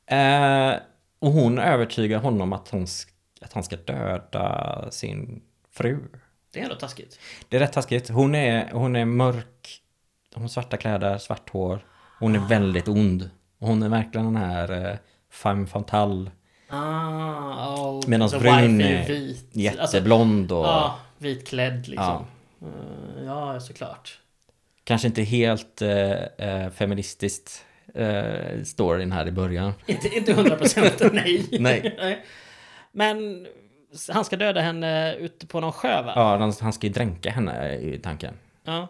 Eh, och hon övertygar honom att, hon, sk- att han ska döda sin fru.
Det är ändå taskigt.
Det är rätt taskigt. Hon är, hon är mörk. Hon har svarta kläder, svart hår. Hon är
Ah.
väldigt ond. Och Hon är verkligen den här eh, femme fatale.
Ah, oh,
Medan
the
brun
wife är
är
ju vit. Alltså,
jätteblond och
ja, vitklädd liksom. Eh, Ja, såklart.
kanske inte helt eh, eh, feministiskt eh, storyn här i början.
Inte, inte 100 procent,
[LAUGHS]
nej.
Nej.
Men s- han ska döda henne ute på någon sjö va?
Ja, de- han ska ju dränka henne i tanken.
Ja.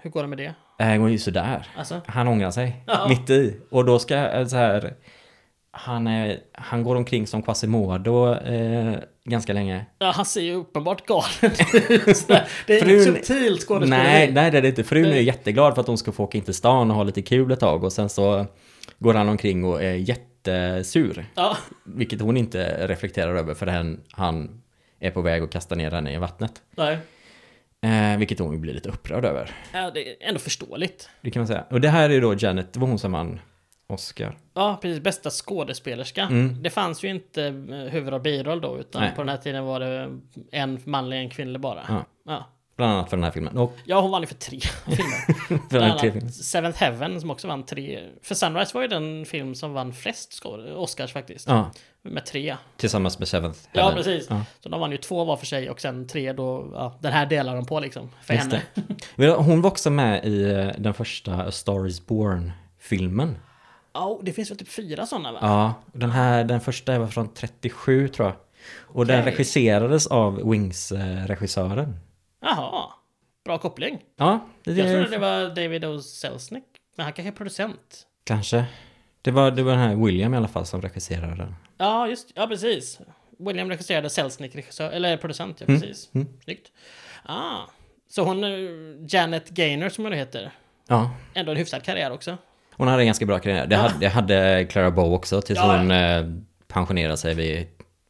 Hur går det med det?
Eh, Det går ju sådär.
Alltså?
Han ångrar sig
Ja.
mitt i. Och då ska eh, så här. Han, är, han går omkring som Quasimodo eh, ganska länge.
Ja, han ser ju uppenbart galen
[LAUGHS]
ut. Sådär. Det är inget
Frun-
subtilt skådespeleri.
Nej, nej det är det inte. Frun är
Nej.
jätteglad för att hon ska få åka in till stan och ha lite kul ett tag och sen så går han omkring och är jättesur.
Ja,
Vilket hon inte reflekterar över för han, han är på väg att kasta ner henne i vattnet.
nej.
Eh, vilket hon blir lite upprörd över.
Ja, det är ändå förståeligt.
Det kan man säga. Och det här är då Janet, det var hon som vann Oscar.
Ja, precis. Bästa skådespelerska. Det fanns ju inte eh, huvud och biroll då, utan
Mm. Nej.
på den här tiden var det en manlig, en kvinnlig bara.
Ja.
Ja.
Bland annat för den här filmen. Och
Ja, hon vann ju för
[LAUGHS]
tre filmer.
för den
Bland
här tre filmen.
annat Seventh Heaven som också vann tre. För Sunrise var ju den film som vann flest skåd- Oscars faktiskt.
Ja,
Med tre.
tillsammans med Seventh
Ja,
Heaven.
precis.
Ja.
Så de vann ju två var för sig och sen tre då, ja, den här delar de på liksom. För
Just
henne.
det. Men Hon var också med i eh, den första A Star Is Born-filmen.
Ja, och det finns väl typ fyra sådana va?
Ja, den här, den första var från 37 tror jag. Och den
Okej.
regisserades av Wings-regissören.
Jaha. Bra koppling.
Ja, det,
Jag trodde det var David O. Selznick. Men han kanske är producent.
kanske. Det var, det var den här William i alla fall som regisserade den.
Ja, just Ja, precis. William regisserade, Selznick regissör, eller producent, ja precis. Snyggt. Ah. Så hon, eh, Janet Gaynor som hon heter,
Ja,
ändå en hyfsad karriär också.
hon hade en ganska bra karriär. Det hade, det hade Clara Bow också tills
Ja, ja.
hon eh, pensionerade sig vid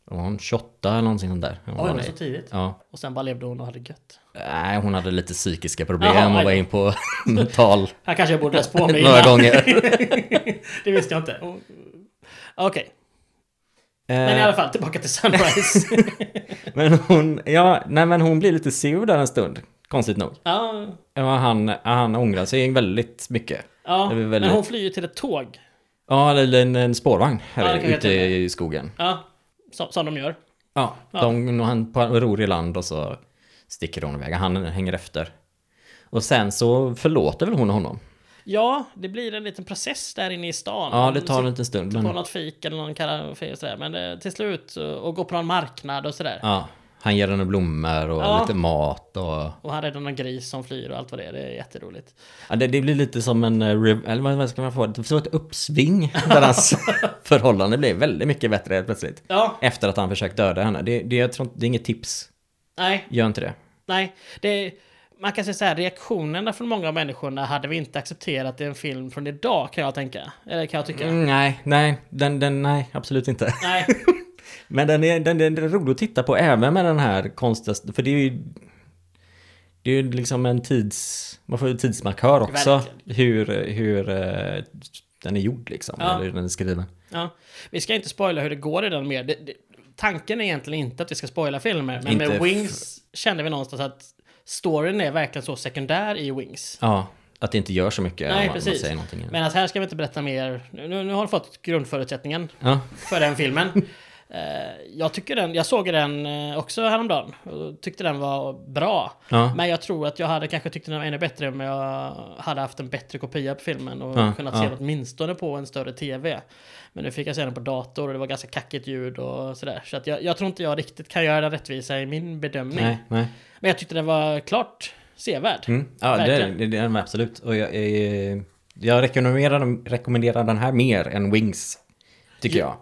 var hon 28 eller någonting sånt där. Hon
Oj,
var
men så
det.
tidigt.
Ja.
Och sen bara levde hon och hade gött.
Nej, hon hade lite psykiska problem
Jaha,
och var
oj.
in
[LAUGHS]
på mental
Han kanske borde läst [LAUGHS] på mig
några
innan.
gånger.
Det visste jag inte. Och- Okej, men i
Eh,
alla fall tillbaka till [LAUGHS] Sunrise.
Men hon, ja, nej men hon blir lite sur där en stund, konstigt nog.
ja,
Ja, han, han ångrar sig väldigt mycket.
ja.
Det är väl
men
väldigt-
hon flyr ju till ett tåg.
Ja, eller en, en spårvagn
Ja,
här
det kan jag
ute
tänka
i skogen.
Ja, som, som de gör.
Ja, de, han ror i land och så sticker hon iväg. Han hänger efter. Och sen så förlåter väl hon honom?
Ja, det blir en liten process där inne i stan.
Ja, det
De
tar en
sitter
liten stund.
på
Men,
något fik eller någon kafé och sådär. Men eh, till slut, eh, och gå på någon marknad och sådär.
ja, han ger henne blommor och
Ja.
lite mat och...
Och han räddar någon gris som flyr och allt vad det är. Det är jätteroligt.
Ja, det, det blir lite som en... eh, rev- Eller vad vad ska man få? Det får ett uppsving.
[LAUGHS]
Där hans förhållande blir väldigt mycket bättre helt plötsligt.
Ja,
Efter att han försökt döda henne. Det, det, jag tror inte, det är inget tips.
nej,
Gör inte det.
nej. Det, man kan säga så här, reaktionerna från många av människorna hade vi inte accepterat i en film från idag kan jag tänka. Eller kan jag tycka.
Mm, nej, nej, den, den, nej, absolut inte.
Nej,
[LAUGHS] Men den är, den, den är rolig att titta på även med den här konstiga... För det är ju... Det är ju liksom en tids... Man får ju tidsmarkör också.
Verkligen.
Hur, hur eh, den är gjord liksom.
Ja.
Eller hur den är skriven.
ja. Vi ska inte spoila hur det går i den mer. Det, det, tanken är egentligen inte att vi ska spoila filmer. Men
Inte
med
f-
Wings kände vi någonstans att storyn är verkligen så sekundär i Wings.
Ja, att det inte gör så mycket
Nej,
om man, om man
precis.
säger någonting.
Men att här ska vi inte berätta mer. Nu, nu, nu har du fått grundförutsättningen.
Ja,
för den filmen. [LAUGHS] Eh, Jag, tycker den, jag såg den eh, också häromdagen och tyckte den var bra.
ja.
Men jag tror att jag hade kanske tyckt den var ännu bättre om jag hade haft en bättre kopia på filmen och
Ja,
kunnat
ja.
se den åtminstone på en större TV. Men nu fick jag se den på dator och det var ganska kackigt ljud och sådär. Så att jag, jag tror inte jag riktigt kan göra den rättvisa i min bedömning.
nej, nej.
Men jag tyckte den var klart sevärd.
Mm. Ja, det,
Verkligen.
det, det är den absolut. Och jag, eh, jag rekommenderar, den- rekommenderar den här mer än Wings. Tycker jag.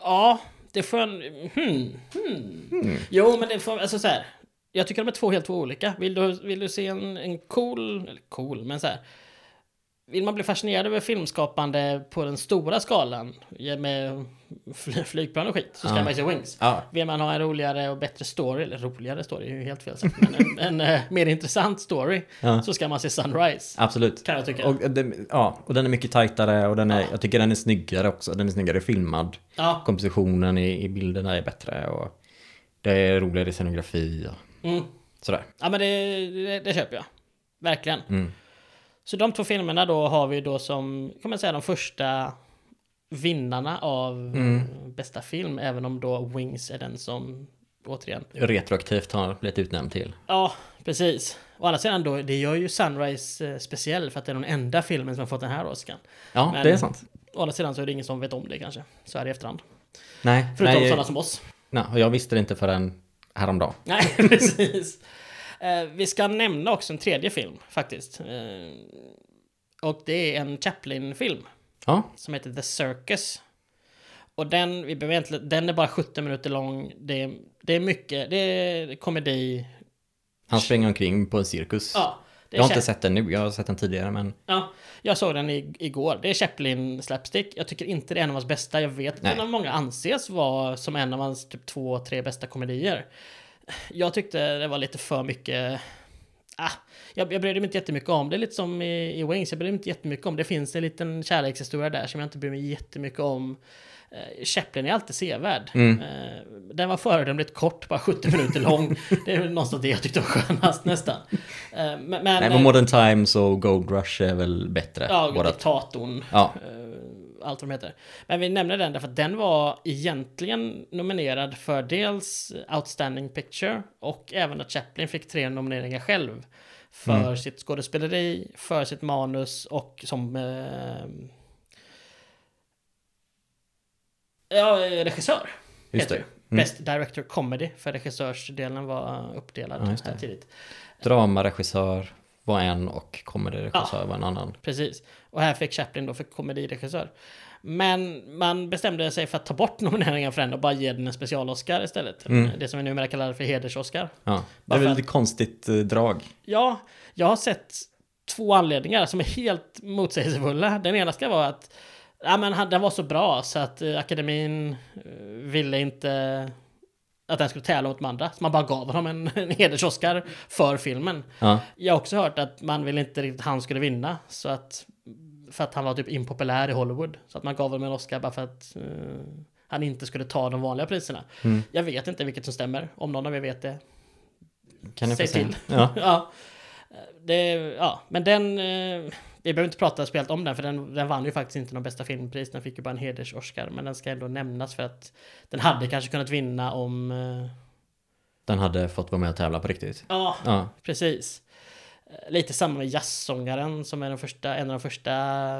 Ja, det får en... Hmm, hmm. Jo, men det får... Alltså så här. Jag tycker de är två helt två olika. Vill du, vill du se en, en cool... Eller cool, men så här. Vill man bli fascinerad över filmskapande på den stora skalan ja, med fly- flygplan och skit så ska
Ja.
man ju se Wings.
Ja,
Vill man ha en roligare och bättre story, eller roligare story, är ju helt fel sagt, men en, en eh, mer intressant story
Ja.
så ska man se Sunrise.
absolut.
Kan jag tycka.
Och, den, ja, och den är mycket tajtare och den är, jag tycker den är snyggare också. Den är snyggare filmad.
Ja,
Kompositionen i, i bilderna är bättre och det är roligare scenografi och
mm.
sådär.
ja men det, det, det köper jag. Verkligen.
Mm.
Så de två filmerna då har vi då som, kan man säga, de första vinnarna av
Mm.
eh, bästa film, även om då Wings är den som, återigen,
Retroaktivt har blivit utnämnd till.
ja, precis. Å andra sidan då, det gör ju Sunrise eh, speciell för att det är den enda filmen som har fått den här Oscarn.
Ja,
Men-
det är sant.
Å andra sidan så är det ingen som vet om det kanske, så här i efterhand.
Nej,
Förutom
nej,
sådana som oss.
nej, och jag visste det inte förrän häromdagen.
Nej, [LAUGHS] precis. Eh, vi ska nämna också en tredje film faktiskt. Eh, och det är en Chaplin-film.
Ja,
som heter The Circus. Och den, vi behöver egentligen, den är bara 17 minuter lång. Det är, det är mycket, det är komedi.
han springer omkring på en cirkus.
Ja, det är
jag har
Chap-
inte sett den nu, jag har sett den tidigare men
ja, jag såg den i, igår. Det är Chaplin slapstick. Jag tycker inte det är en av hans bästa. Jag vet att
Nej.
den av många anses vara som en av hans typ två, tre bästa komedier. Jag tyckte det var lite för mycket... Ah, jag, jag brydde mig inte jättemycket om det. Lite som i, i Wings, jag brydde mig inte jättemycket om. Det finns en liten kärlekshistoria där som jag inte bryr mig jättemycket om. Eh, Chaplin är alltid sevärd.
Mm.
Eh, den var föredömligt kort, bara 70 minuter lång. det är väl någonstans det jag tyckte var skönast nästan. Eh, men, men,
Nej, men Modern Times och Gold Rush är väl bättre?
Ja,
båda.
diktatorn.
Ja.
Eh, Allt vad de heter. Men vi nämner den därför att den var egentligen nominerad för dels Outstanding Picture och även att Chaplin fick tre nomineringar själv. För
Mm.
sitt skådespeleri, för sitt manus och som... Eh, ja, regissör.
Just
heter
det. Mm.
det. Best Director Comedy, för regissörsdelen var uppdelad
Ja, just det.
här tidigt.
Dramaregissör var en och comedyregissör var en annan.
Precis. Och här fick Chaplin då för komediregissör. Men man bestämde sig för att ta bort [LAUGHS] nomineringen för den och bara ge den en special-Oscar istället. Det som vi numera kallar för heders-Oscar.
Ja. Det är
Varför?
väl ett konstigt eh, drag.
Ja, jag har sett två anledningar som är helt motsägelsefulla. Den ena ska vara att ja, men han, den var så bra så att eh, akademin eh, ville inte att den skulle tävla mot de andra. Så man bara gav honom en, [LAUGHS] en heders-Oscar för filmen.
Ja.
Jag har också hört att man ville inte riktigt att han skulle vinna. Så att, för att han var typ impopulär i Hollywood. Så att man gav honom en Oscar bara för att eh, han inte skulle ta de vanliga priserna. Jag vet inte vilket som stämmer. Om någon av er vet det.
Kan ni
Säg
få säga?
till.
Ja.
ja. Det, ja, men den... eh, Vi behöver inte prata speciellt om den, för den, den vann ju faktiskt inte någon bästa filmpris. Den fick ju bara en heders-Oscar, men den ska ändå nämnas för att den hade kanske kunnat vinna om... eh,
den hade fått vara med och tävla på riktigt.
Ja,
Ja,
precis. Eh, Lite samma med jazzsångaren som är den första, en av de första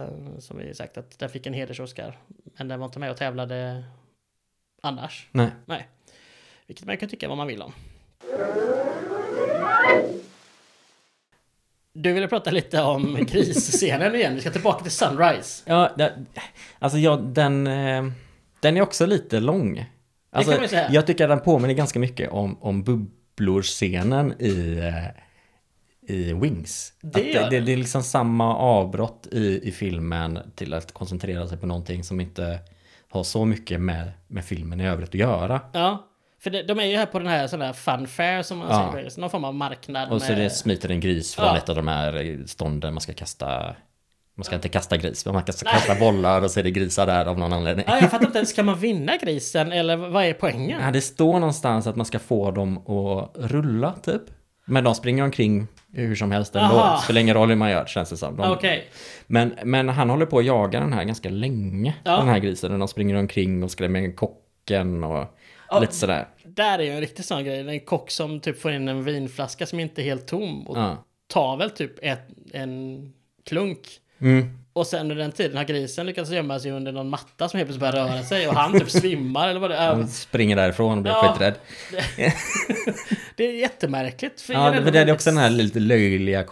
eh, som vi sagt att den fick en hedersoscar. Men den var inte med och tävlade annars.
nej.
Nej. Vilket man kan tycka vad man vill om. Du ville prata lite om
[LAUGHS]
grisscenen igen. Vi ska tillbaka till Sunrise.
Ja, det, alltså jag, den, eh, den är också lite lång. Alltså,
kan man ju säga.
Jag tycker att den påminner ganska mycket om, om bubblor-scenen i, eh, i Wings.
Det
Att
gör
det, det, det är liksom samma avbrott i, i filmen till att koncentrera sig på någonting som inte har så mycket med, med filmen i övrigt att göra.
Ja. För det, de är ju här på den här sån där funfair som man
Ja.
säger på engelska. Någon form av marknad
Och så
med...
det smiter en gris från
Ja.
ett av de här stånden man ska kasta. Man ska inte kasta gris, men man ska kasta bollar och så är det grisar där av någon anledning.
Ja, jag fattar inte ens. Kan man vinna grisen? Eller vad är poängen?
Ja, det står någonstans att man ska få dem att rulla typ. Men de springer omkring hur som helst ändå.
Aha.
Det spelar ingen roll hur man gör känns det som. De,
Okej.
men, men han håller på att jaga den här ganska länge.
Ja.
Den här grisen. Och de springer omkring och skrämmer kocken och
Ja.
lite sådär.
Där är ju en riktig sån grej. En kock som typ får in en vinflaska som inte är helt tom. Och
Ja.
tar väl typ ett, en klunk.
Mm.
Och sen under den tiden har grisen lyckats gömma sig under någon matta som helt plötsligt börjar röra sig. Och han typ svimmar eller vad det är.
Han springer därifrån och blir
Ja.
skiträdd.
Det är jättemärkligt. För
Ja,
är
det,
ändå
det är
väldigt-
också den här lite löjliga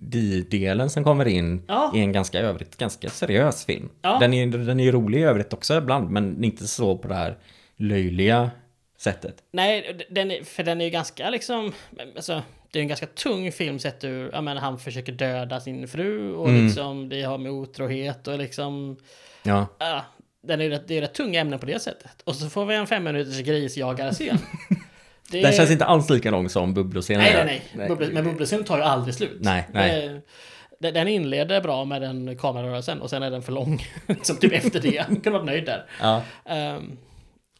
komedidelen som kommer in
Ja.
i en ganska övrigt ganska seriös film.
Ja.
Den är den är ju rolig i övrigt också ibland, men inte så på det här löjliga sättet.
Nej, den är, för den är ju ganska liksom... Alltså, det är en ganska tung film sett ur... Ja, men han försöker döda sin fru och
Mm.
liksom det har med otrohet och liksom...
Ja,
Ja, den är, ju rätt- det är rätt tunga ämnen på det sättet. Och så får vi en fem minuters
[LAUGHS]
grisjagarscen. Det
den
är-
känns inte alls lika lång som Bubbloscenen.
Eh. Nej,
är.
nej, nej. Bubbel- Men bubbelscenen tar ju aldrig slut.
Nej, nej.
Eh, Den den inleder bra med den kamerarörelsen och sen är den för lång. [LAUGHS] Som typ efter det. Jag kunde varit nöjd där.
Ja.
Ehm,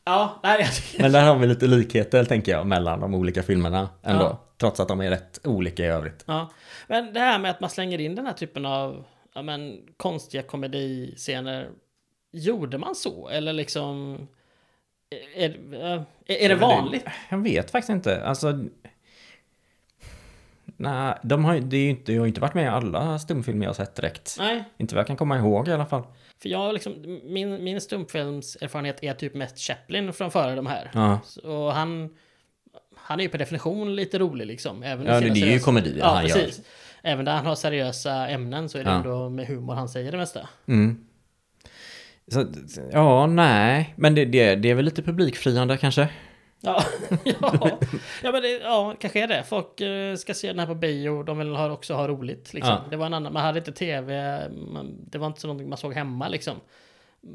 ja, nej, jag tycker...
Men där har vi lite likheter, tänker jag, mellan de olika filmerna ändå.
Ja.
Trots att de är rätt olika i övrigt.
Ja. Men det här med att man slänger in den här typen av ja, men, konstiga komediscener. Gjorde man så? Eller liksom... Är, är, är det vanligt?
Jag vet faktiskt inte. Alltså... Nej, de har, ju- det är ju inte, jag har ju inte varit med i alla stumfilmer jag har sett direkt.
Nej.
Inte vad jag kan komma ihåg i alla fall.
För jag liksom, min, min stumfilmserfarenhet är typ mest Chaplin från före de här.
Ja,
Och han, han är ju per definition lite rolig liksom. Även
ja
i
det,
sina
det är ju
seriösa-
komedier
ja,
han
precis. Även där han har seriösa ämnen så är det
Ja.
ändå med humor han säger det mesta.
gör. Mm. Så, ja, nej. Men det, det, det är väl lite publikfriande kanske? [LAUGHS]
Ja, ja. [LAUGHS] ja, men det, ja kanske är det. Folk eh, ska se den här på bio, de vill ha, också ha roligt. Liksom.
Ja.
Det var en annan, man hade inte tv, man, det var inte så någonting man såg hemma liksom.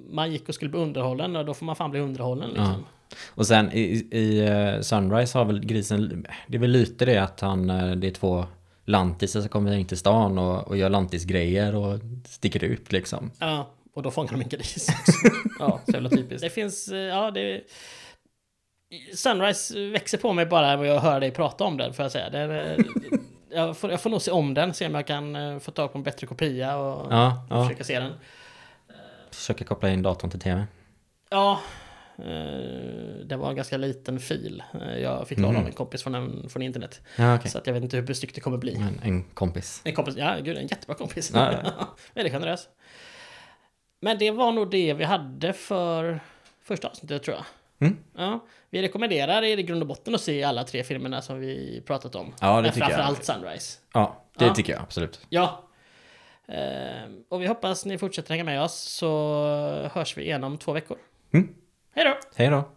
Man gick och skulle bli underhållen och då får man fan bli underhållen liksom.
Och sen i, i eh, Sunrise har väl grisen, det är väl lite det att han, eh, det är två lantisar som kommer in till stan och, och gör lantisgrejer och sticker ut liksom.
Ja, och då fångar de en gris också. [LAUGHS] Ja, så jävla typiskt. Det finns, eh, ja det... Sunrise växer på mig bara vad jag hör dig prata om den, får jag säga. Den, eh, jag, får, jag får nog se om den, se om jag kan eh, få tag på en bättre kopia och
Ja, ja.
försöka se den.
Försöker koppla in datorn till tv.
Ja, eh, det var en ganska liten fil. Eh, Jag fick låna av en kompis från, en, från internet.
Ja, okej.
Så att jag vet inte hur besnyggt det kommer bli.
Men en kompis.
En kompis, ja gud, en jättebra kompis.
Ja, ja.
[LAUGHS] Väldigt generös. Men det var nog det vi hade för första avsnittet tror jag.
Mm.
Ja, vi rekommenderar er i grund och botten att se alla tre filmerna som vi pratat om.
Ja, det
Men
tycker jag.
framförallt Sunrise.
Ja, det
Ja.
tycker jag absolut.
Ja. Ehm, och vi hoppas ni fortsätter hänga med oss så hörs vi igen om två veckor.
Mm.
Hej då!
Hej då.